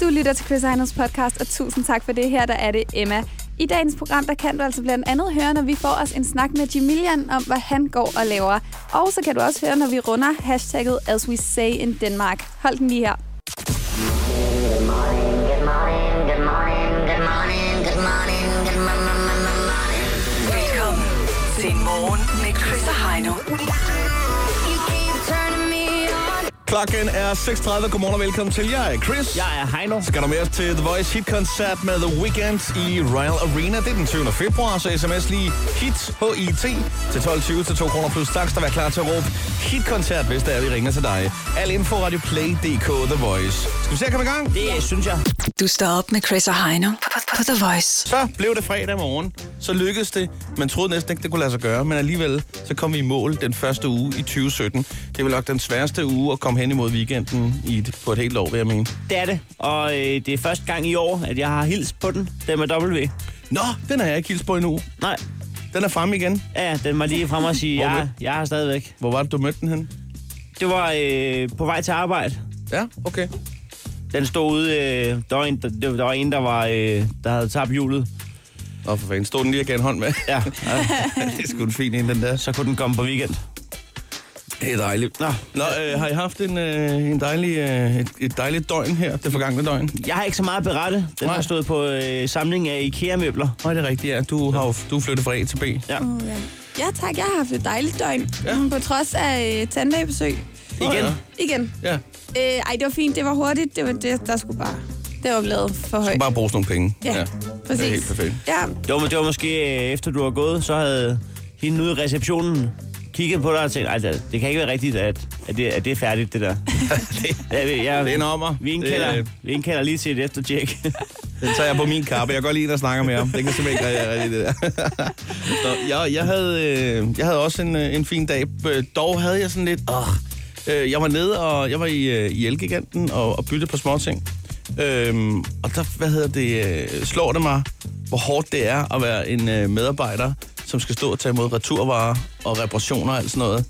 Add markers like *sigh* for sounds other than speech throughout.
Du lytter til Chris Einers podcast, og tusind tak for det. Her der er det Emma. I dagens program, der kan du altså blandt andet høre, når vi får os en snak med Jamilian om, hvad han går og laver. Og så kan du også høre, når vi runder hashtagget As We Say in Denmark. Hold den lige her. Good morning, good morning, good morning, good morning, good morning, good morning. Velkommen til Morgen med Chris og Heino. You keep turning me on. Klokken er 6.30. Godmorgen og velkommen til. Jeg er Chris. Jeg er Heino. Skal du med os til The Voice Hit-koncert med The Weeknd i Royal Arena. Det er den 20. februar, så sms lige HIT, H-I-T, til 12.20 til 2 kroner plus tax, der vær klar til at råbe hit-koncert, hvis der er, vi ringer til dig. Al info, radioplay.dk, The Voice. Skal vi se at komme i gang? Det synes jeg. Du står op med Chris og Heino på, på, på The Voice. Så blev det fredag morgen. Så lykkedes det. Man troede næsten ikke, det kunne lade sig gøre, men alligevel så kom vi i mål den første uge i 2017. Det var nok den sværeste uge at komme hen imod weekenden i et, på et helt år, vil jeg mene. Det er det. Og øh, det er første gang i år, at jeg har hilst på den. Den med W. Nå, den har jeg ikke hilst på endnu. Nej. Den er fremme igen. Ja, den var lige fremme og sige, Hvor jeg, mødte- jeg er stadigvæk. Hvor var det, du mødte den hen? Det var øh, på vej til arbejde. Ja, okay. Den stod ude. Øh, der, var en, der, der var en, der, var, øh, der havde tabt hjulet. Nå, for fanden. Stod den lige og gav en hånd med? Ja, det er sgu en fin en, den der. så kunne den komme på weekend. Det er dejligt. Nå. Nå, øh, har I haft en, øh, en dejlig, øh, et, et dejligt døgn her, det forgangne døgn? Jeg har ikke så meget at berette. Den Nej. har stået på øh, samling af IKEA-møbler. Nej, det er rigtigt, ja. Du har jo du er flyttet fra A til B. Ja. Uh, ja. ja tak, jeg har haft et dejligt døgn, ja. på trods af øh, tandlægebesøg. Igen. Ja. Igen. ja. Øh, ej, det var fint, det var hurtigt, det var det, der skulle bare... Det var blevet for højt. Bare bruge sådan nogle penge. *laughs* Ja, præcis. Det er helt perfekt. Ja, Det var, det var måske øh, efter du var gået, så havde hende ude i receptionen kigget på dig og tænkt, "Ej, det, det kan ikke være rigtigt, at, at, det, at det er færdigt, det der. jeg, jeg, jeg, Det er en ommer. Vi indkalder, Det, øh, vi indkalder lige til et eftertjek. Den tager jeg på min kappe. Jeg går lige ind og snakker med ham. Det kan simpelthen ikke være rigtigt, det der. *laughs* Nå, jeg, jeg, havde, øh, jeg havde også en, øh, en fin dag. Øh, Dog havde jeg sådan lidt... Øh, øh, jeg var nede, og jeg var i, øh, i Elgiganten og, og byttede på småting. Øhm, og der, hvad hedder det, øh, slår det mig, hvor hårdt det er at være en øh, medarbejder, som skal stå og tage imod returvarer og reparationer og alt sådan noget.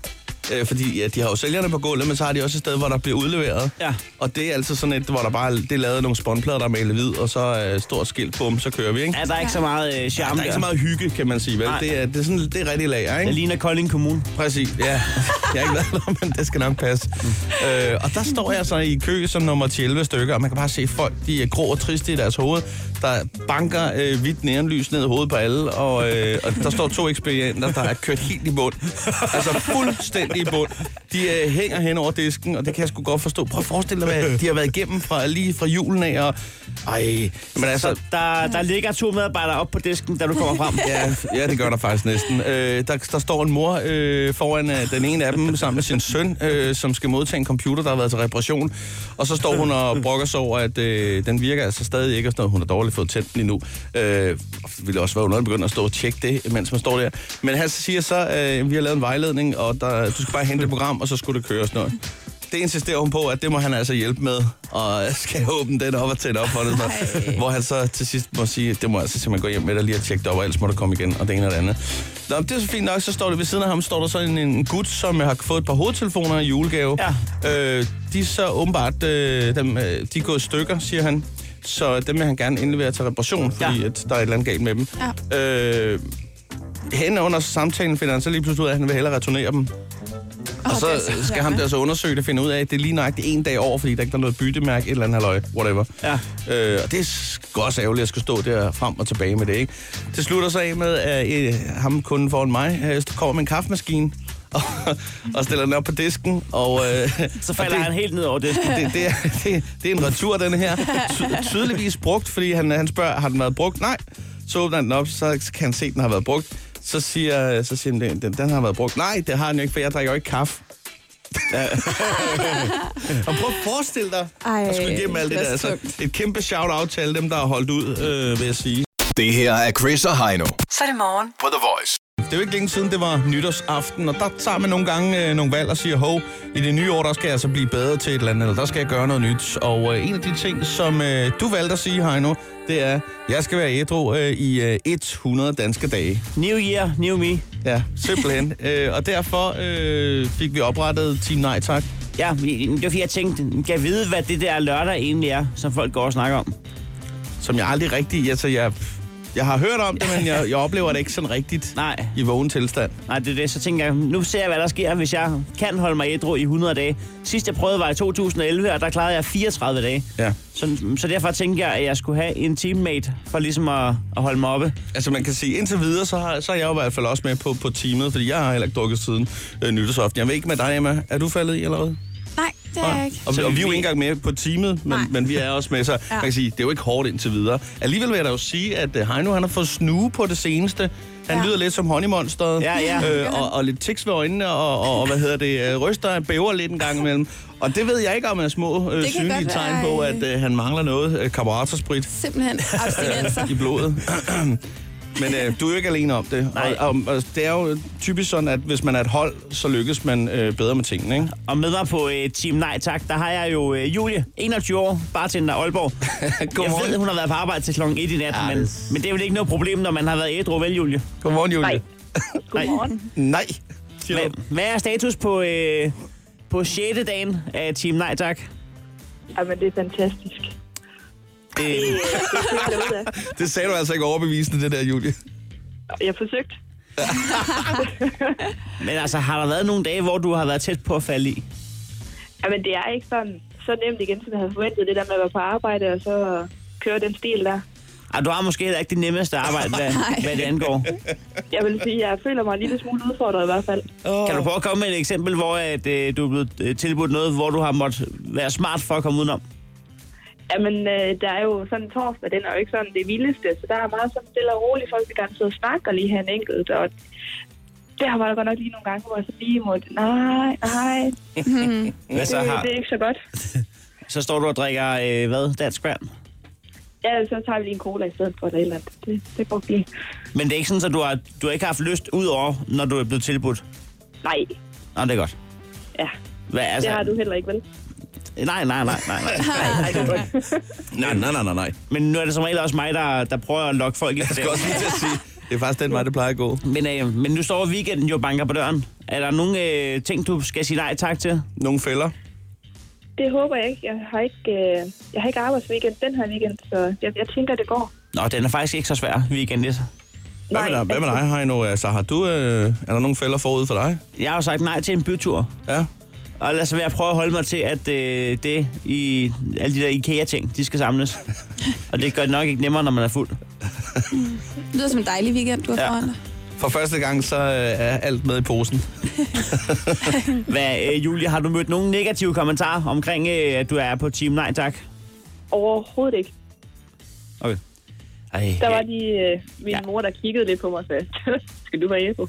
Øh, fordi ja, de har jo sælgerne på gulvet, men så har de også et sted, hvor der bliver udleveret. Ja. Og det er altså sådan et, hvor der bare det er lavet nogle spåndplader, der er malet hvid, og så øh, stort skilt på dem, så kører vi, ikke? Ja, der er ikke så meget øh, Ja, charme der er ikke så meget hygge, kan man sige, vel? Nej. Det er, det er, sådan, det er rigtig lager, Jeg ikke? ligner Kolding Kommune. Præcis, ja. Jeg har ikke været der, men det skal nok passe. Øh, og der står jeg så i kø som nummer 11 stykker, og man kan bare se folk, de er grå og triste i deres hoved. Der banker øh, hvidt neonlys ned i hovedet på alle, og, øh, og der står to ekspedienter, der er kørt helt i bund. Altså fuldstændig i bund. De øh, hænger hen over disken, og det kan jeg sgu godt forstå. Prøv at forestille dig, hvad de har været igennem fra, lige fra julen af, og... Ej, men altså... Så der, der ligger to medarbejdere op på disken, da du kommer *laughs* frem. Ja, ja, det gør der faktisk næsten. Øh, der, der står en mor øh, foran øh, den ene af dem sammen med sin søn, øh, som skal modtage en computer, der har været til reparation. Og så står hun og brokker sig over, at øh, den virker altså stadig ikke, og sådan noget. hun har dårligt fået tændt den endnu. Øh, det ville også være underligt at begynde at stå og tjekke det, mens man står der. Men han siger så, øh, vi har lavet en vejledning, og der, du skal bare hente et program, og så skulle det køre og sådan noget. Det insisterer hun på, at det må han altså hjælpe med, og skal åbne den op og tænde op for det. Så, hvor han så til sidst må sige, det må jeg altså simpelthen gå hjem med dig lige og tjekke det op, og ellers må du komme igen, og det ene og det andet. Nå, men det er så fint nok, så står det ved siden af ham, står der så en, en gut, som har fået et par hovedtelefoner i julegave. Ja. Øh, de er så åbenbart, øh, dem, øh, de er gået i stykker, siger han. Så dem vil han gerne indlevere til reparation, fordi ja. Ja. at der er et eller andet galt med dem. Ja. Øh, hen under samtalen finder han så lige pludselig ud af, at han vil hellere returnere dem. Og Åh, så det er så skal ham irriterende. der så undersøge det, finde ud af, at det er lige nøjagtigt en dag over, fordi der ikke er noget byttemærke, et eller andet halløj, whatever. Ja. Øh, og det er sgu også ærgerligt at skulle stå der frem og tilbage med det, ikke? Det slutter så af med, at øh, ham kunden foran mig øh, kommer med en kaffemaskine *laughs* og, og stiller den op på disken, og... *laughs* Øh, Så og falder det- han helt ned over disken. det, det, er, *laughs* det, det er en retur, den her. Ty, tydeligvis brugt, fordi han, han spørger, har den været brugt? Nej. Så åbner han den op, så kan han se, at den har været brugt. Så siger, så siger han, den, den, den har været brugt. Nej, det har den jo ikke, for jeg drikker jo ikke kaffe. *laughs* og prøv at forestille dig, Ej, at skulle igennem alt det det er der. Altså, tungt. et kæmpe shout-out til alle dem, der har holdt ud, øh, vil jeg sige. Det her er Chris og Heino Så er det morgen. på The Voice. Det er jo ikke længe siden, det var nytårsaften, og der tager man nogle gange øh, nogle valg og siger, hov, i det nye år, der skal jeg altså blive bedre til et eller andet, eller der skal jeg gøre noget nyt. Og øh, en af de ting, som øh, du valgte at sige, Heino, det er, jeg skal være ædru øh, i øh, 100 danske dage. New year, new me. Ja, simpelthen. øh, og derfor øh, fik vi oprettet Team Nej Tak, Ja, det var fordi, jeg tænkte, kan jeg vide, hvad det der lørdag egentlig er, som folk går og snakker om? Som jeg aldrig rigtig... Altså, jeg, jeg har hørt om det, men jeg, jeg oplever det ikke sådan rigtigt Nej. i vågen tilstand. Nej, det er det. Så tænker jeg, nu ser jeg, hvad der sker, hvis jeg kan holde mig ædru i 100 dage. Sidst jeg prøvede var i 2011, og der klarede jeg 34 dage. Ja. Så, så derfor tænkte jeg, at jeg skulle have en teammate for ligesom at, at holde mig oppe. Altså man kan sige, indtil videre, så, har, så er jeg jo i hvert fald også med på, på teamet, fordi jeg har heller ikke drukket siden øh, nytårsaften. Jeg ved ikke med dig, Emma. Er du faldet i eller hvad? Nej, det er jeg ikke. Og, Så og vi er jo vi- ikke engang med på teamet, men, Nej. men vi er også med, så ja. man kan sige, det er jo ikke hårdt indtil videre. Alligevel vil jeg da jo sige, at øh, Heino han har fået snue på det seneste. Han Ja. ja. lyder lidt som honeymonsteret, Ja, ja. Øh, og, og lidt tiks ved øjnene, og, og, og hvad hedder det, øh, ryster og bæver lidt en gang imellem. Og det ved jeg ikke, om er små øh, Det kan synlige godt tegn være, på, øh, at øh, han mangler noget øh, karburatorsprit *laughs* Simpelthen abstinenser. i blodet. *clears throat* Men øh, du er jo ikke alene om det. Nej. Og, og, og det er jo typisk sådan, at hvis man er et hold, så lykkes man øh, bedre med tingene, *laughs* ikke? Og med mig på øh, Team Nej Tak, der har jeg jo øh, Julie, 21 år, bartender i *laughs* Aalborg. Jeg ved, hun har været på arbejde til klokken 1 i nat, Ja, ja, men, det- men det er vel ikke noget problem, når man har været ædru, vel Julie? Godmorgen, Julie. *laughs* Nej. Godmorgen. Nej. Siger du. Hvad, hvad er status på, øh, på 6. dagen af Team Nej Tak? Jamen, det er fantastisk. Det, Det er jeg ud af. Det sagde du altså ikke overbevisende, det der, Julie. Jeg forsøgte. men altså, har der været nogle dage, hvor du har været tæt på at falde i? Jamen, det er ikke sådan så nemt igen, som jeg havde forventet. Det der med at være på arbejde, og så køre den stil der. Ah, du har måske heller ikke det nemmeste arbejde, *laughs* hvad, hvad det angår. Jeg vil sige, jeg føler mig en lille smule udfordret i hvert fald. Kan du prøve at komme med et eksempel, hvor at, øh, du er blevet øh, tilbudt noget, hvor du har måttet være smart for at komme udenom? Jamen, øh, der er jo sådan en torsdag, den er jo ikke sådan det vildeste, så der er meget sådan stille og roligt. Folk vil gerne sidde og snakke og lige have en enkelt, og det har været godt nok lige nogle gange, hvor jeg så lige måtte, nej, nej, Hvad så, det, Altså, har, det er ikke så godt. så står du og drikker, øh, hvad, dansk vand? Ja, så tager vi lige en cola i stedet for det eller andet. Det, det går lige. Men det er ikke sådan, at du har, du har ikke haft lyst ud over, når du er blevet tilbudt? Nej, Nå, det er godt. ja, Hvad, altså, det har du heller ikke, vel? Nej, nej, nej, nej, nej. *laughs* Nej, det er godt. Nej, nej, nej, nej, nej. Men nu er det som regel også mig, der, der prøver at lokke folk i Jeg skal også lige til at sige, det er faktisk den vej, det plejer at gå. Men, øh, men nu står weekenden jo og banker på døren. Er der nogle øh, ting, du skal sige nej tak til? Nogle fælder. Det håber jeg ikke. Jeg har ikke, øh, jeg har ikke arbejdsweekend den her weekend, så jeg, jeg tænker, det går. Nå, den er faktisk ikke så svær, weekend lidt. Hvad med dig, hvad med dig Heino? Altså, har du, øh, er der nogle fælder forud for dig? Jeg har jo sagt nej til en bytur. Ja. Og ellers så vil jeg prøve at holde mig til, at øh, det i alle de der IKEA-ting, de skal *laughs* samles. og det gør det nok ikke nemmere, når man er fuld. Det lyder som en dejlig weekend, du har Ja. foran dig. For første gang, så øh, er alt med i posen. Hvad, øh, Julie, har du mødt nogle negative kommentarer omkring, øh, at du er på Team Nej Tak? Overhovedet ikke. Okay. Ej, Der var jeg, lige øh, min Ja. ja. mor, der kiggede lidt på mig og sagde, *laughs* skal du være hjemme?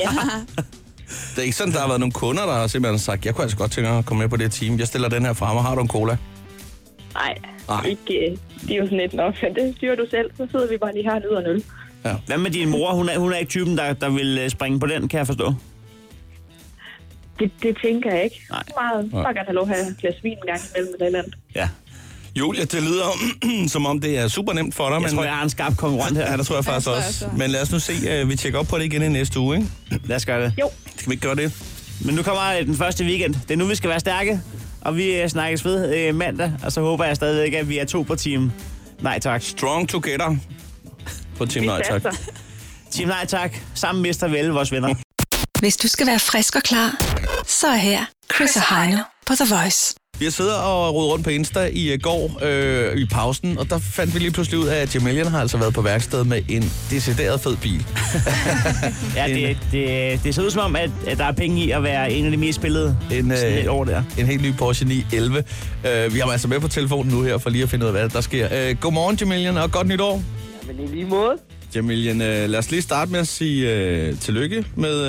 ja, Det er ikke sådan, der har været nogle kunder, der har simpelthen sagt, jeg kunne altså godt tænke mig at komme med på det team. Jeg stiller den her frem, og har du en cola? nej. Nej. Ikke, øh, de er jo sådan lidt nok, men det styrer du selv. Så sidder vi bare lige her og nyder en øl. Hvad med din mor? Hun er, hun er ikke typen, der, der vil øh, springe på den, kan jeg forstå. Det, det tænker jeg ikke. Nej. Meget, bare gerne have lov at have et glas vin en gang imellem eller et eller andet. Ja. Julia, det lyder *clears throat* som om, det er super nemt for dig. Jeg men... tror, jeg har en skarp konkurrent her. Ja, det tror jeg faktisk tror jeg også. også. Men lad os nu se, øh, vi tjekker op på det igen i næste uge, ikke? Lad os gøre det. Jo, Skal vi ikke gøre det? Men nu kommer øh, den første weekend. Det er nu, vi skal være stærke. Og vi øh, snakkes ved øh, mandag. Og så håber jeg stadigvæk, at vi er to på Team Nej Tak. Strong together på Team Nej, tak. satser. Team Nej Tak. Sammen mister vel vores venner. Hvis du skal være frisk og klar, så er her Chris og Heino på The Voice. Vi har siddet og rodet rundt på Insta i øh, går øh, i pausen, og der fandt vi lige pludselig ud af, at Jamilian har altså været på værksted med en decideret fed bil. Ja, det, det, det ser ud som om, at, at der er penge i at være en af de mest spillede En, sådan øh, lidt over der. en helt ny Porsche 911. Øh, vi har ham altså med på telefonen nu her, for lige at finde ud af, hvad der sker. Øh, godmorgen, Jamilian, og godt nytår. Men i lige måde, Jamilian, øh, lad os lige starte med at sige øh, tillykke med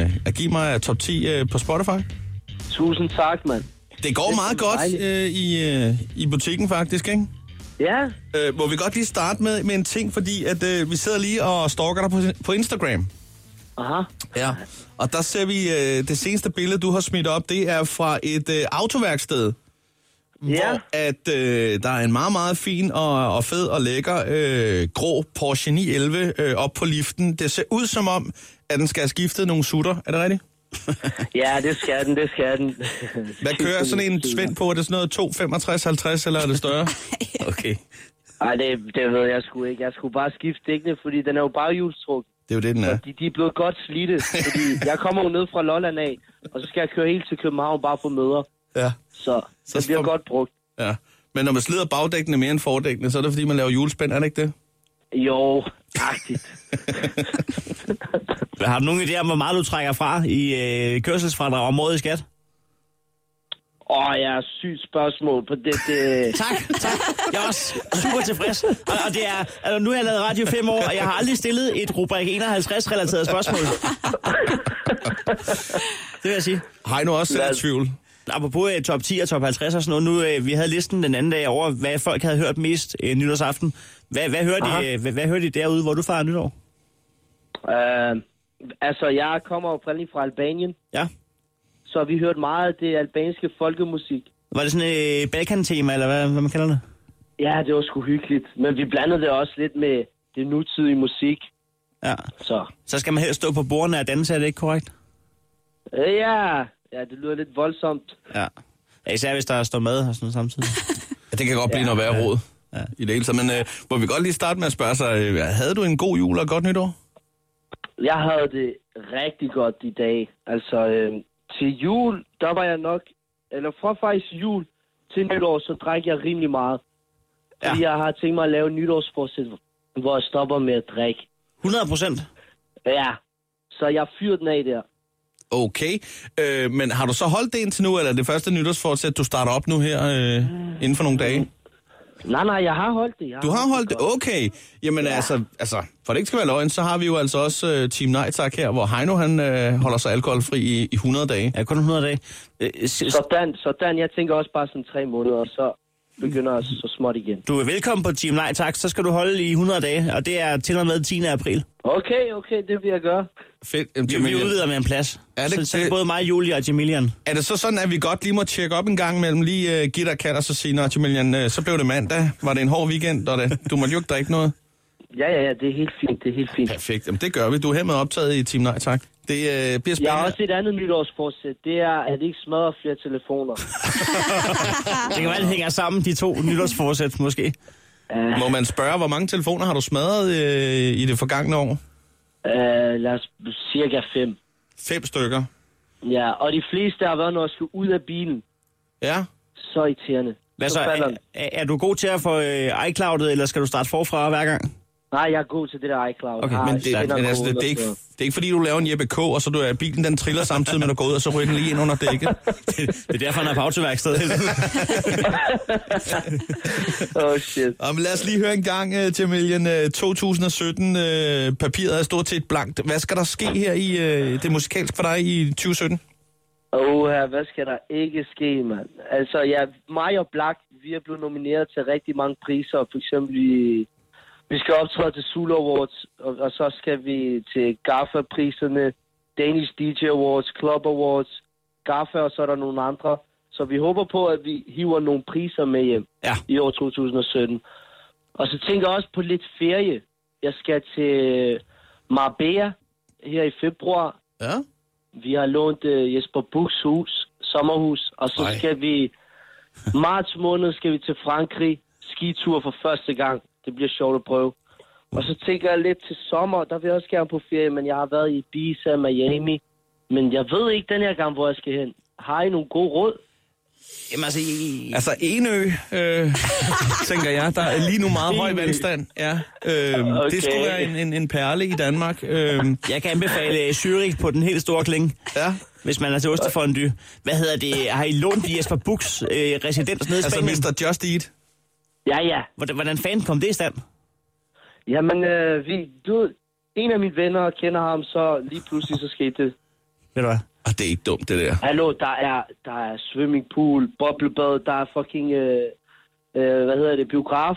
øh, at give mig top 10 øh, på Spotify. tusind tak, mand. Det går meget godt dejligt. øh, i, øh, i butikken faktisk, ikke? Ja, Øh, må vi godt lige starte med, med en ting, fordi at, øh, vi sidder lige og stalker dig på, på Instagram. aha. Ja. Og der ser vi, øh, det seneste billede, du har smidt op, det er fra et øh, autoværksted. Ja. Hvor at, øh, der er en meget, meget fin og, og fed og lækker øh, grå Porsche 911 øh, op på liften. Det ser ud som om, at den skal have skiftet nogle sutter. Er det rigtigt? Ja, det skal den, det skal den. Hvad kører sådan en Svend på? Er det sådan noget 265, 50 eller er det større? Okay. Nej, det, det ved jeg sgu ikke. Jeg skulle bare skifte dækkene, fordi den er jo bare hjulstrukket. Det er jo det, den er. De, de er blevet godt slidte, fordi jeg kommer jo ned fra Lolland af, og så skal jeg køre helt til København bare for møder. Ja. Så, så Så det bliver får- godt brugt. ja. Men når man slider bagdækkene mere end fordækkene, så er det fordi, man laver julespænd, er det ikke det? Jo, agtigt. Har du nogen idé om, hvor meget du trækker fra i øh, kørselsfradrag området i skat? Åh, jeg er sygt spørgsmål på det. det. Tak, tak. Jeg er også super tilfreds. Og, og det er, altså, nu har jeg lavet radio i fem år, og jeg har aldrig stillet et rubrik 51-relateret spørgsmål. Det vil jeg sige. Har I nu også selv i tvivl? Apropos øh, top 10 og top 50 og sådan noget, nu, øh, vi havde listen den anden dag over, hvad folk havde hørt mest øh, nytårsaften. Hvad, hvad, hørte I, øh, hvad, hvad hørte I derude, hvor du fejrer nytår? Øh, altså, jeg kommer oprindeligt fra Albanien, Ja. så vi hørt meget af det albanske folkemusik. Var det sådan et øh, Balkan-tema, eller hvad, hvad man kalder det? Ja, det var sgu hyggeligt, men vi blandede det også lidt med det nutidige musik, Ja. så... Så skal man helst stå på bordene og danse, er det ikke korrekt? Øh, ja, ja, det lyder lidt voldsomt. Ja. ja især hvis der står mad og sådan noget samtidig. Ja, det kan godt blive noget værre råd Ja. i det hele taget. Men øh, må vi godt lige starte med at spørge sig, øh, havde du en god jul og et godt nytår? Jeg havde det rigtig godt i dag. Altså, øh, til jul, der var jeg nok... Eller fra faktisk jul til nytår, så drak jeg rimelig meget. Ja. Fordi jeg har tænkt mig at lave en nytårsforsæt, hvor jeg stopper med at drikke. 100 procent. Ja, så jeg fyrede den af der. Okay, øh, men har du så holdt det indtil nu, eller er det første nytårsfortsæt, du starter op nu her øh, Mm. inden for nogle dage? Nej, nej, jeg har holdt det. Jeg Du har holdt det? godt. Okay. Jamen ja. altså, altså, for det ikke skal være løgn, så har vi jo altså også øh, Team Nej Tak her, hvor Heino han øh, holder sig alkoholfri i, i 100 dage. Ja, kun 100 dage. Øh, s- s- Sådan, sådan. Jeg tænker også bare sådan tre måneder, og så begynder jeg så småt igen. Du er velkommen på Team Nej Tak, så skal du holde i 100 dage, og det er til og med 10. april. Okay, okay, det vil jeg gøre. Fedt. Jamen, Vi, vi Jamilian, udvider med en plads. Er det- så, så det- både mig, Julie og Jamilian. Er det så sådan, at vi godt lige må tjekke op en gang mellem lige øh, give dig kat og så sige, Nå, Jamilian, øh, så blev det mandag, var det en hård weekend, og det, du måtte jo ikke drikke noget? Ja, ja, ja, det er helt fint, det er helt fint. Perfekt. Jamen, det gør vi. Du er hermed optaget i Team Nej Tak. Det øh, bliver Jeg har spændende. også et andet nytårsforsæt. Det er, at ikke smadre flere telefoner. Det kan være, det hænger sammen, de to nytårsforsæt måske. Må man spørge, hvor mange telefoner har du smadret øh, i det forgangne år? Uh, lad os cirka fem. Fem stykker. Ja, og de fleste har været, når jeg skulle ud af bilen. Ja. Så irriterende. Hvad så, falder er, den. er er du god til at få øh, iCloud'et, eller skal du starte forfra hver gang? Nej, jeg er god til det der iCloud. Okay, Jeg Men har- det, jeg kender men altså, det, det, er ikke, koden og det er ikke, fordi du laver en Jeppe K, og så du er bilen, den triller samtidig med, at du går ud, og så ryger den lige ind under dækket. *laughs* Det er derfor, han er på autoværksted. sådan noget. Åh, oh, shit. Jamen, lad os lige høre en gang, uh, Jamilian. Øh, 2017, øh, papiret er stort set blankt. Hvad skal der ske her i øh, det musikalske for dig i 2017? Åh, hvad skal der ikke ske, mand? Altså, ja, mig og Black, vi er blevet nomineret til rigtig mange priser. For eksempel, i, vi skal optræde til Zulu Awards, og, og så skal vi til GAFA-priserne, Danish DJ Awards, Club Awards, GAFA, og så er der nogle andre. Så vi håber på, at vi hiver nogle priser med hjem Ja. i år 2017. Og så tænker jeg også på lidt ferie. Jeg skal til Marbella her i februar, Ja. vi har lånt uh, Jesper Buchs hus, sommerhus, og så Ej. skal vi... Marts måned skal vi til Frankrig, skitur for første gang. Det bliver sjovt at prøve. Og så tænker jeg lidt til sommer, der vil jeg også gerne på ferie, men jeg har været i Ibiza, Miami. Men jeg ved ikke den her gang, hvor jeg skal hen. Har I nogle gode råd? *laughs* Jamen altså, I, Altså, Enø, øh, *laughs* tænker jeg, der er lige nu meget høj vandstand. Ja, øh, okay. Okay. Det skulle være en, en, en perle i Danmark. Øh, jeg kan anbefale øh, Zürich på den helt store klinge. ja. hvis man er til ostefondy. Hvad hedder det? Har I lånt Jesper Buchs øh, residens nede i Altså, Spanien? Mr. Just Eat. Ja, ja. Hvordan, hvordan fanden kom det i stand? Jamen, øh, vi, du, ved, en af mine venner kender ham, så lige pludselig så skete det. Ved du hvad? Og Ah, det er ikke dumt, det der. Hallo, der er, der er swimmingpool, boblebad, der er fucking, øh, øh, hvad hedder det, biograf.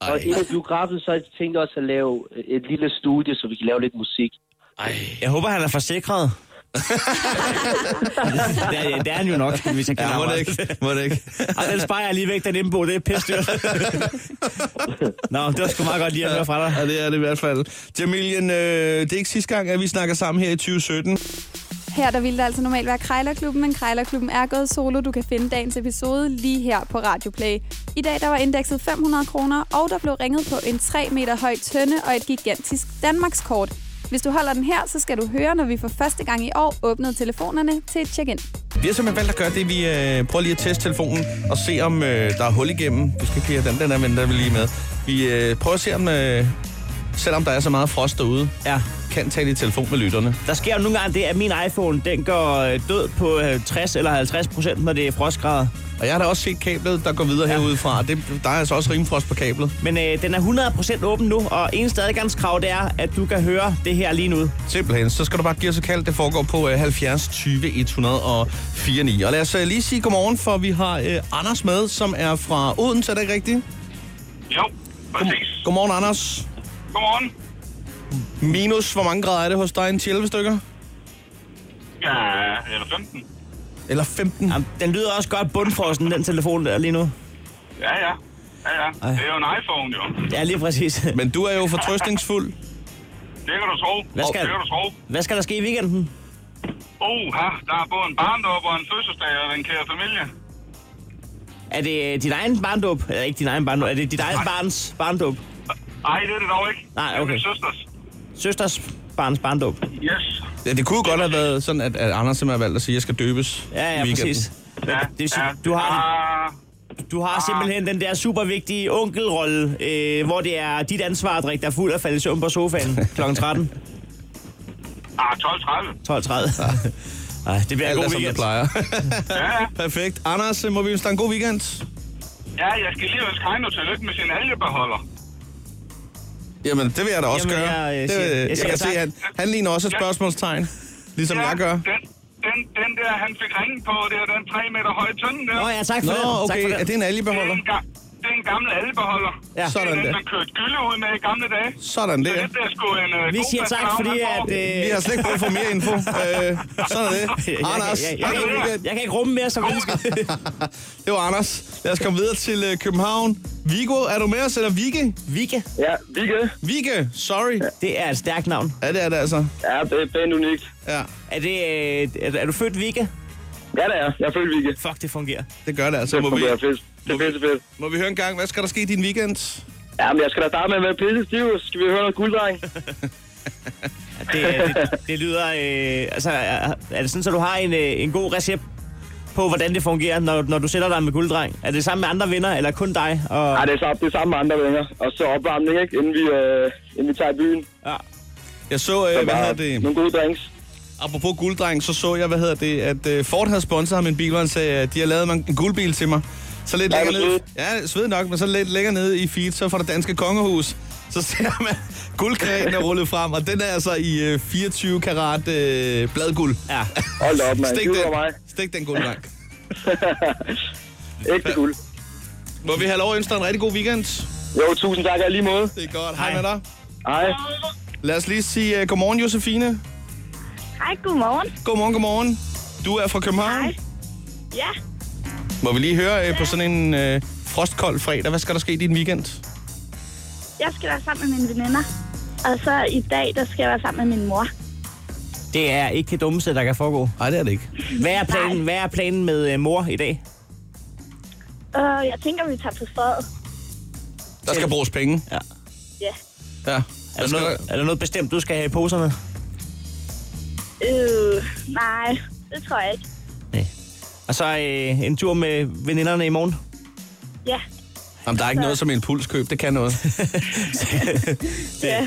Ej. Og inden biografen, så har jeg tænkt os at lave øh, et lille studie, så vi kan lave lidt musik. Jeg håber, han er forsikret. *laughs* det, er, det er han jo nok, hvis han kan Ja, må det ikke? Må *laughs* det ikke? Ej, den sparer jeg lige væk, den indbo, det er pisse *laughs* dyrt. Nå, det var sgu meget godt lige at høre fra dig. Ja, det er det i hvert fald. Jamilien, øh, det er ikke sidste gang, at vi snakker sammen her i 2017. *laughs* Her der ville det altså normalt være Krejlerklubben, men Krejlerklubben er gået solo. Du kan finde dagens episode lige her på Radio Play. I dag der var indekset 500 kroner, og der blev ringet på en 3 meter høj tønde og et gigantisk Danmarkskort. Hvis du holder den her, så skal du høre, når vi for første gang i år åbnede telefonerne til et check-in. Vi har simpelthen valgt at gøre det, vi øh, prøver lige at teste telefonen og se, om øh, der er hul igennem. Du skal ikke lige have den, den er venter vi lige med. Vi øh, prøver at se, om øh, selvom der er så meget frost derude, Ja. kan tale i telefon med lytterne. Der sker jo nogle gange det, at min iPhone, den går øh, død på øh, 60 eller 50 procent, når det er frostgrader. Og jeg har da også set kablet, der går videre ja. Ja. herudefra. Det, der er altså også rimfrost på kablet. Men øh, den er 100 procent åben nu, og eneste adgangskrav, det er, at du kan høre det her lige nu. Simpelthen. Så skal du bare give os et kald. Det foregår på øh, 70 20 104 9. Og lad os øh, lige sige godmorgen, for vi har øh, Anders med, som er fra Odense. Er det ikke rigtigt? Jo, præcis. Godmorgen, Anders. Godmorgen. Minus, hvor mange grader er det hos dig? En 10 11 stykker? Ja, eller 15. Eller 15? Jamen, den lyder også godt bundfrosten, den telefon der lige nu. Ja, ja. Ja, ja. Ej. Det er jo en iPhone, jo. Ja, lige præcis. Men du er jo fortrøstningsfuld. Det kan du tro. Hvad skal- Det kan du tro. Hvad skal der ske i weekenden? Oh, ha, der er både en barndåb og en fødselsdag og en kære familie. Er det øh, din egen barndåb? Eller ikke din egen barndåb, er det dit eget barns barndåb? Ej, det er det dog ikke. Nej, Det er okay. min søsters. Søsters barns barndåb? Yes. Ja, det kunne jo godt have været sådan, at, at Anders simpelthen har valgt at sige, at jeg skal døbes Ja, ja, i weekenden. præcis. Ja, det vil sige, du har- Ah, Du har simpelthen den der super vigtige onkelrolle, øh, hvor det er dit ansvar at drikke dig fuld og falde i søvn på sofaen kl. 13. ah, 12.30. 12.30. Ej, det bliver en Alt er, god som det weekend. plejer. *laughs* Ja, ja. Perfekt. Anders, må vi ønske dig en god weekend? ja, jeg skal lige ønske Heino tillykke med sin algebeholder. Jamen, det vil jeg da også Jamen, gøre. jeg, øh, det, siger- jeg jeg siger kan se, tak. han, han ligner også et spørgsmålstegn, ligesom ja, jeg gør. Den, den, den der, han fik ringen på, det er den 3 meter høje tønde der. Nå ja, tak for Nå, det. okay. Tak for Er det en det, er algebeholder? en, ga- det er en gammel algebeholder. Ja. Det er Sådan den, der. man kørte gylde ud med i gamle dage. Sådan Så der. det bliver sgu en øh, Vi god siger tak, background, fordi han får. at... Øh, Vi har slet ikke brug for mere info. Øh, sådan er det. Anders, jeg, jeg, ha' en jeg, jeg, god weekend. jeg, kan ikke rumme mere som menneske. Det var Anders. Lad os komme videre til øh, København. Vigo, er du med os? Eller Vigge? Vika, Ja, Vigge. Vigge, sorry. det er et stærkt navn. Ja, det er det altså. Ja, det er pænt unikt. Ja, Er, det, øh, er, er du født Vika? Ja, det er jeg. Jeg er født Vigge. Fuck, det fungerer. det gør det altså. Det Må vi, fungerer fedt. Det er fedt, fedt. må vi høre en gang, hvad skal der ske i din weekend? Ja, men jeg skal da starte med at være pisse stiv. Skal vi høre noget gulddreng? Ja, Det, det, det lyder... Øh, altså, er, er det sådan, at du har en, øh, en god recept på, hvordan det fungerer, når, når du sætter dig med gulddreng? Er det sammen med andre venner, eller kun dig? Og, Ja, det er, samme, det er samme med andre venner. Og så opvarmning, ikke? Inden vi, øh, inden vi tager i byen. ja. Jeg så, øh, hvad hedder det? Nogle gode drinks. Apropos gulddreng, så så jeg, hvad hedder det, at øh, Ford havde sponsoret ham en bil, og han sagde, at de har lavet mig en guldbil til mig. Så lidt Ja, længere hvor ned, ja, sved nok, men så lidt længere ned i feed, så fra det danske kongehus, så ser man *laughs* guldgren er rullet frem, og den er altså i øh, 24 karat øh, bladguld. ja. Hold da op, mand. Stik Det var mig. *laughs* den, stik den gulddreng. Ægte guld. Må vi have lov at ønske dig en rigtig god weekend? Jo, tusind tak. og i lige måde. Det er godt. Hej Hej. med dig. Hej. Lad os lige sige uh, godmorgen, Josefine. Hej, godmorgen. Godmorgen, godmorgen. Du er fra København. Hej. Ja, Må vi lige høre uh, på sådan en uh, frostkold fredag, hvad skal der ske i din weekend? jeg skal være sammen med mine veninder. Og så i dag, der skal jeg være sammen med min mor. Det er ikke det dummeste, der kan foregå. Nej, det er det ikke. Hvad er planen, hvad er planen med øh, mor i dag? Og jeg tænker, vi tager på strøget. Der skal bruges penge. Ja. Ja. Ja. Er Altså, Der der, skal, noget, er der noget bestemt, du skal have i poserne? Øh, nej, det tror jeg ikke. Nej. Og så øh, en tur med veninderne i morgen? Ja, jamen, der er ikke noget som impulskøb. Det kan *laughs* noget. ja.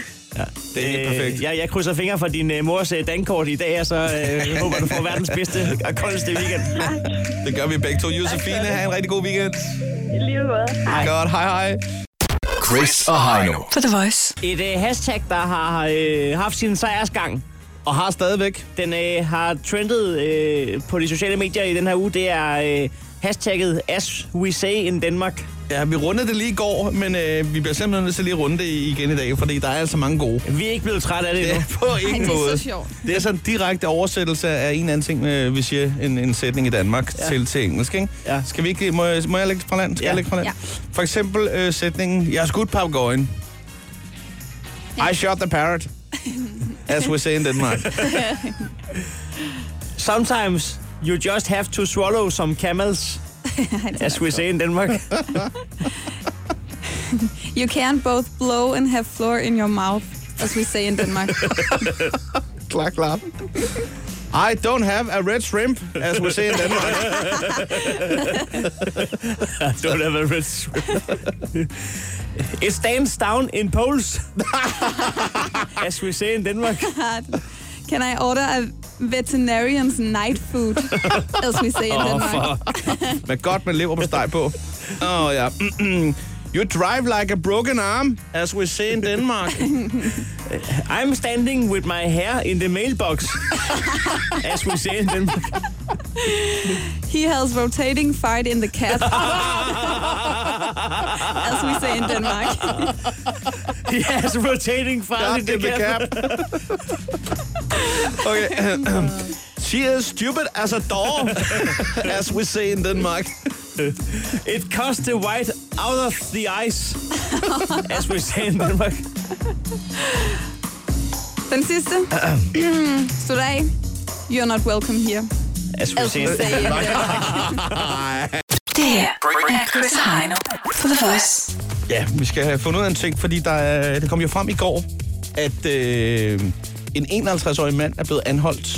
Det er helt perfekt. Øh, jeg, jeg krydser fingre for din øh, mors øh, dankort i dag, og så øh, jeg håber du får verdens bedste og koldeste weekend. Det gør vi begge to. Josefine, have en rigtig god weekend. I lige måde. Hej. Godt, hej hej. Chris og Heino. På The Voice. Et øh, hashtag, der har øh, haft sin sejrsgang, Og har stadigvæk. den øh, har trendet øh, på de sociale medier i den her uge, det er øh, hashtagget As We Say in Denmark. Ja, vi rundede det lige i går, men øh, vi bliver simpelthen nødt til lige at runde det igen i dag, fordi der er altså mange gode. Vi er ikke blevet trætte *laughs* af det endnu. Ja, på ingen det er så måde. sjovt. Det er sådan en direkte oversættelse af en eller anden ting, øh, hvis jeg en, en sætning i Danmark ja. til, til engelsk, ikke? Ja. Skal vi ikke, må, jeg, må jeg lægge det fra land? Skal Ja. jeg lægge det fra land? Ja. For eksempel øh, sætningen, jeg har skudt papegøjen. *laughs* I shot the parrot. As we say in Denmark. Sometimes you just have to swallow some camels, as we say in Denmark. You can both blow and have floor in your mouth, as we say in Denmark. klar, klar. I don't have a red shrimp, as we say in Denmark. I *laughs* don't have a red It stands down in *laughs* poles, as we say in Denmark. can I order a veterinarian's night food, as we say in Åh, Denmark? fuck. Men godt med lever på steg på. Åh, oh, ja. *clears throat* You drive like a broken arm, as we say in Denmark. I'm standing with my hair in the mailbox, as we say in Denmark. *laughs* He has rotating fart in the *laughs* cat, as we say in Denmark. He has rotating fart in the cap. *laughs* Okay. *clears throat* She is stupid as a *laughs* dog, as we say in Denmark. It cuts the white out of the ice, as we say in Denmark. Den sidste. *clears throat* Today, you're not welcome here, As we as say we in say in Denmark. Det her er Chris og Heino på The Voice. Ja, vi skal have fundet ud af en ting, fordi der, er- det kom jo frem i går, at øh, en 51-årig mand er blevet anholdt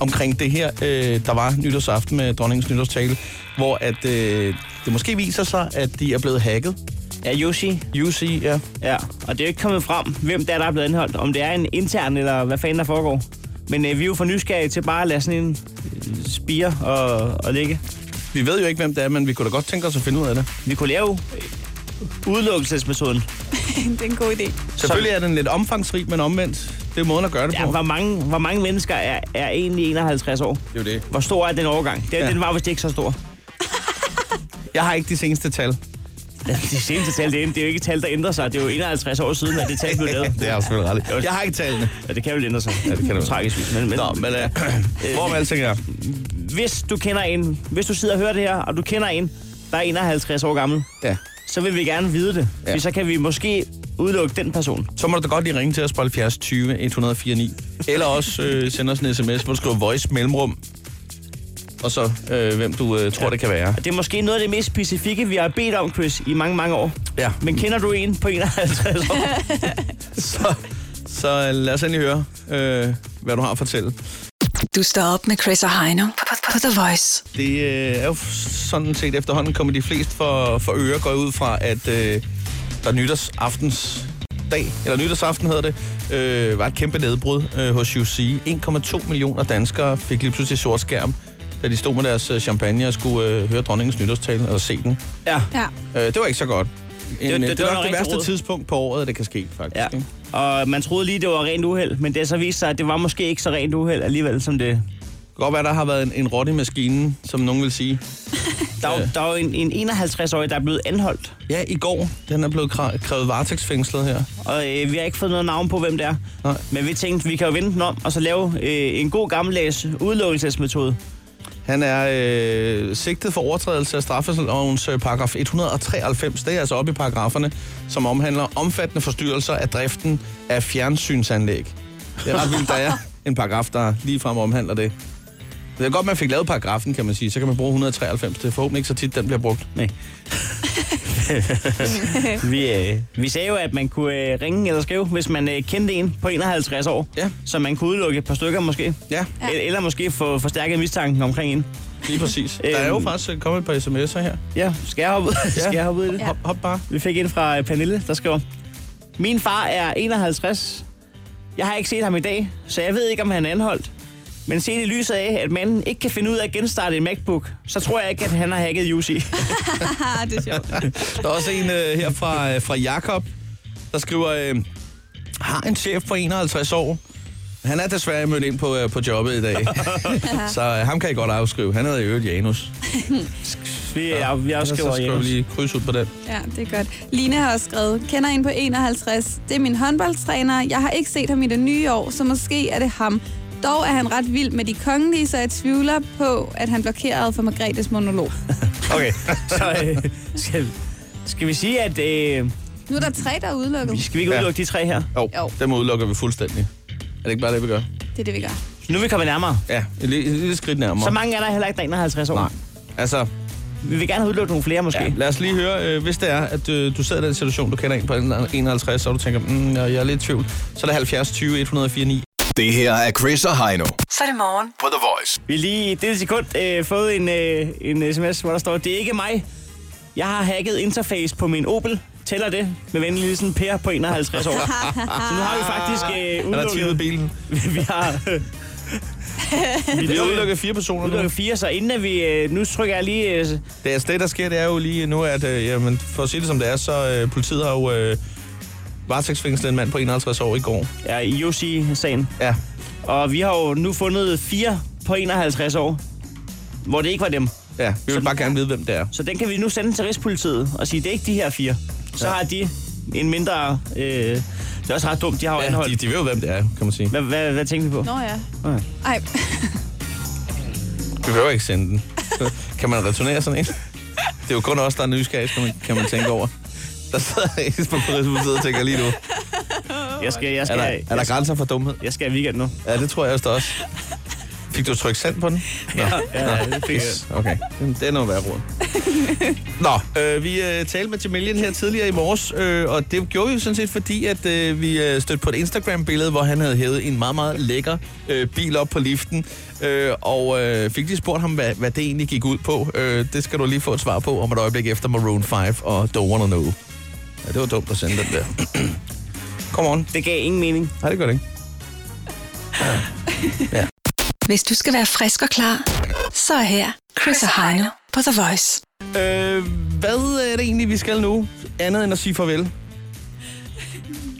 omkring det her, øh, der var nytårsaften med dronningens nytårstale, hvor at, øh, det måske viser sig, at de er blevet hacket. Ja, Yoshi. UC, ja. Ja, og det er jo ikke kommet frem, hvem der er, der er blevet anholdt. Om det er en intern, eller hvad fanden der foregår. Men øh, vi er jo for nysgerrige til bare at lade sådan en øh, spire og, og ligge. Vi ved jo ikke, hvem det er, men vi kunne da godt tænke os at finde ud af det. Vi kunne lave øh, udelukkelsesmetoden. Det er en god idé. Selvfølgelig er den lidt omfangsrig, men omvendt, det er måden at gøre det på. Ja, hvor mange, hvor mange mennesker er, er egentlig 51 år? Det er jo det. Hvor stor er den overgang? Den, Ja. ja. den var vist ikke så stor. Jeg har ikke de seneste tal. De seneste tal, det er, det er jo ikke tal, der ændrer sig. Det er jo 51 år siden, at det tal blev lavet. *laughs* det er selvfølgelig ret. Jeg har ikke tallene. Ja, det kan vel ændre sig. Ja, det kan det Tragisk, men, men, Nå, men øh, *clears throat* hvor med alting er. hvis du kender en, hvis du sidder og hører det her, og du kender en, der er 51 år gammel, Ja. så vil vi gerne vide det. Ja. Ja. Så kan vi måske udelukke den person. Så må du da godt lige ringe til os på 70 20 104 9. Eller også øh, sende os en sms, hvor du skriver voice mellemrum. Og så øh, hvem du øh, tror, ja. det kan være. Det er måske noget af det mest specifikke, vi har bedt om, Chris, i mange, mange år. Ja. Men kender du en på 51 år? *laughs* Så, så lad os endelig høre, øh, hvad du har at fortælle. Du står op med Chris og Heino på, på, på The Voice. Det øh, er jo sådan set efterhånden kommet de fleste for, for øre, går jeg ud fra, at øh, der nytårsaftens dag, eller nytårsaften hedder det, øh, var et kæmpe nedbrud øh, hos UC. 1,2 millioner danskere fik lige pludselig sort skærm, da de stod med deres øh, champagne og skulle øh, høre dronningens nytårstale eller se den. *laughs* ja. Ja. Øh, det var ikke så godt. En, det- det, det, det det, det var var noget nok det rigtig værste rod. tidspunkt på året, det kan ske, faktisk. ja. ikke? Og man troede lige, det var rent uheld, men det har så vist sig, at det var måske ikke så rent uheld alligevel, som det... Det kan godt være, der har været en, en rot i maskinen, som nogen vil sige. Der, Ja. ja. der er jo en, en 51-årig, der er blevet anholdt, Ja, i går, den er blevet kra- krævet varetægtsfængslet her. og øh, vi har ikke fået noget navn på, hvem det er. Nej. Men vi tænkte, vi kan jo vende den om, og så lave øh, en god gammeldags udelukkelsesmetode. Han er øh, sigtet for overtrædelse af straffelovens øh, paragraf 193. Det er altså oppe i paragraferne, som omhandler omfattende forstyrrelser af driften af fjernsynsanlæg. Det er ret vildt, der er en paragraf, der ligefrem omhandler det. Det er godt, man fik lavet paragrafen, kan man sige. Så kan man bruge 193. Det er forhåbentlig ikke så tit, den bliver brugt. *laughs* Nej. vi, øh, vi sagde jo, at man kunne øh, ringe eller skrive, hvis man øh, kendte en på 51 år. Ja. Så man kunne udelukke et par stykker måske. Ja, Ja. Eller måske få forstærket mistanken omkring en. lige præcis. Der er jo Øhm. faktisk øh, kommet et par sms'er her. Ja, skal jeg hoppe, ja. skal jeg hoppe ud i det? Hop, hop bare. Vi fik en fra øh, Pernille, der skriver, Min far er 51. Jeg har ikke set ham i dag, så jeg ved ikke, om han er anholdt. Men set i lyset af, at manden ikke kan finde ud af at genstarte en MacBook, så tror jeg ikke, at han har hacket *laughs* UC. Ah, det er sjovt. Der er også en øh, her fra, øh, fra Jakob, der skriver, øh, har en chef på 51 år. Han er desværre mødt ind på, øh, på jobbet i dag, så øh, ham kan I godt afskrive. Han hedder i øvrigt Janus. Vi, ja, vi Så afskriver skal vi Janus. lige kryds ud på den. Ja, det er godt. Line har også skrevet, kender en på 51. Det er min håndboldtræner. Jeg har ikke set ham i det nye år, så måske er det ham. Dog er han ret vild med de kongelige, så jeg tvivler på, at han blokerede for Margrethes monolog. Okay, så øh, skal, skal vi sige, at øh, Nu er der tre, der er udelukket. skal vi ikke Ja. udelukke de tre her? Jo, Jo. dem udelukker vi fuldstændig. Er det ikke bare det, vi gør? Det er det, vi gør. Nu er vi kommet nærmere. Ja, et lille, et lille skridt nærmere. Så mange er der heller ikke, der er 51 år. Nej. Altså, Vi vil gerne have udelukket nogle flere måske. ja, lad os lige høre, øh, hvis det er, at øh, du sidder i den situation, du kender en på en eller anden 51, så du tænker, mm, jeg jeg er lidt i tvivl, så er det 70 20 104 9. Det her er Chris og Heino Så er det morgen. på The Voice. Vi har lige i dette sekund øh, fået en, øh, en sms, hvor der står, det er ikke mig. Jeg har hacket interface på min Opel. Tæller det med venlig hilsen Per på 51 år. Så nu har vi faktisk øh, Han har tippet udelukket... bilen. *laughs* vi har... øh, vi Vi har har udelukket fire personer nu. udelukket fire, så inden at vi... Øh, nu trykker jeg lige... Øh, Det, altså, det, der sker, det er jo lige nu, at øh, jamen, for at sige det som det er, så øh, politiet har jo øh, varetægtsfængslet en mand på 51 år i går. ja, i Yossi-sagen. Ja, Og vi har jo nu fundet fire på 51 år, hvor det ikke var dem. ja. Vi vil Så- bare gerne vide, hvem det er. Så den kan vi nu sende til Rigspolitiet og sige, det er ikke de her fire. Så ja. har de en mindre... Øh, det er også ret dumt, de har jo ja, Ja, anholdt. de, de ved jo, hvem det er, kan man sige. Hvad, hvad, hvad tænkte vi på? Nå ja. Okay. Ej, Vi behøver ikke sende den. *laughs* kan man returnere sådan en? Det er jo kun os, der er nysgerrige, kan man, kan man tænke over. Der sidder en på Rigsmuseet og tænker lige nu, Jeg skal, jeg er skal, der, jeg, er der jeg, grænser for dumhed? jeg skal i weekend nu. Ja, det tror jeg også. også. Fik du tryk send på den? Nå. *laughs* Ja, ja, det fik jeg. Yes, okay. Jamen, Det er noget værd *laughs* råd. Nå, øh, vi øh, talte med Jamilian her tidligere i morges, øh, og det gjorde vi jo sådan set, fordi at øh, vi øh, stødte på et Instagram-billede, hvor han havde hævet en meget, meget lækker øh, bil op på liften, øh, og øh, fik lige spurgt ham, hvad, hvad det egentlig gik ud på. Øh, det skal du lige få et svar på om et øjeblik efter Maroon 5 og Don't Wanna Know. Ja, det var dumt at sende den der. *clears throat* Come on. Det gav ingen mening. Nej, det gør det ikke. Hvis du skal være frisk og klar, så er her Chris og Heino på The Voice. Øh, hvad er det egentlig, vi skal nu? Andet end at sige farvel.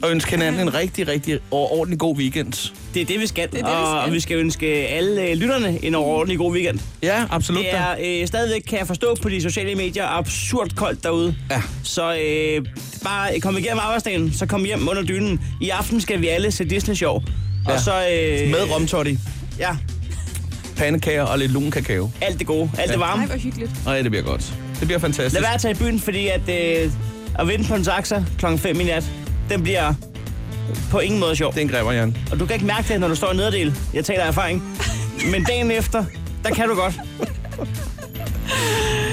Og ønske hinanden en rigtig, rigtig og ordentlig god weekend. Det er det, vi skal. er det, vi og, skal. og vi skal ønske alle øh, lytterne en overordentlig god weekend. Ja, absolut. Det da. er øh, stadigvæk, kan jeg forstå på de sociale medier, absurd koldt derude. Ja. Så øh, bare kom igennem arbejdsdagen, så kom hjem under dynen. I aften skal vi alle se Disney-show. Ja. Ja. Og så... Øh, Med romtotti, Ja, pandekager og lidt lun kakao. alt det gode, alt ja. det varme. nej, hvor hyggeligt. Og ja, det bliver godt. Det bliver Lad fantastisk. være at tage i byen, fordi at, øh, at vinde på en taxa kl. 5 i nat, den bliver på ingen måde sjov. Den græber, Jan. Og du kan ikke mærke det, når du står i nederdel. Jeg taler af erfaring. Men dagen efter, der kan du godt.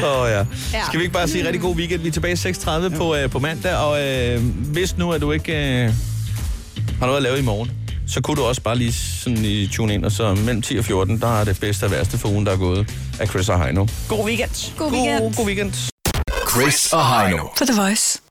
Åh oh, ja. Ja. Skal vi ikke bare sige rigtig god weekend? Vi er tilbage 6.30 på, øh, på mandag, og øh, hvis nu, at du ikke øh, har noget at lave i morgen, så kunne du også bare lige sådan i tune ind, og så mellem 10 og 14, der er det bedste og værste for ugen, der er gået af Chris og Heino. God weekend. God weekend. God, god weekend. Chris og Heino. På The Voice.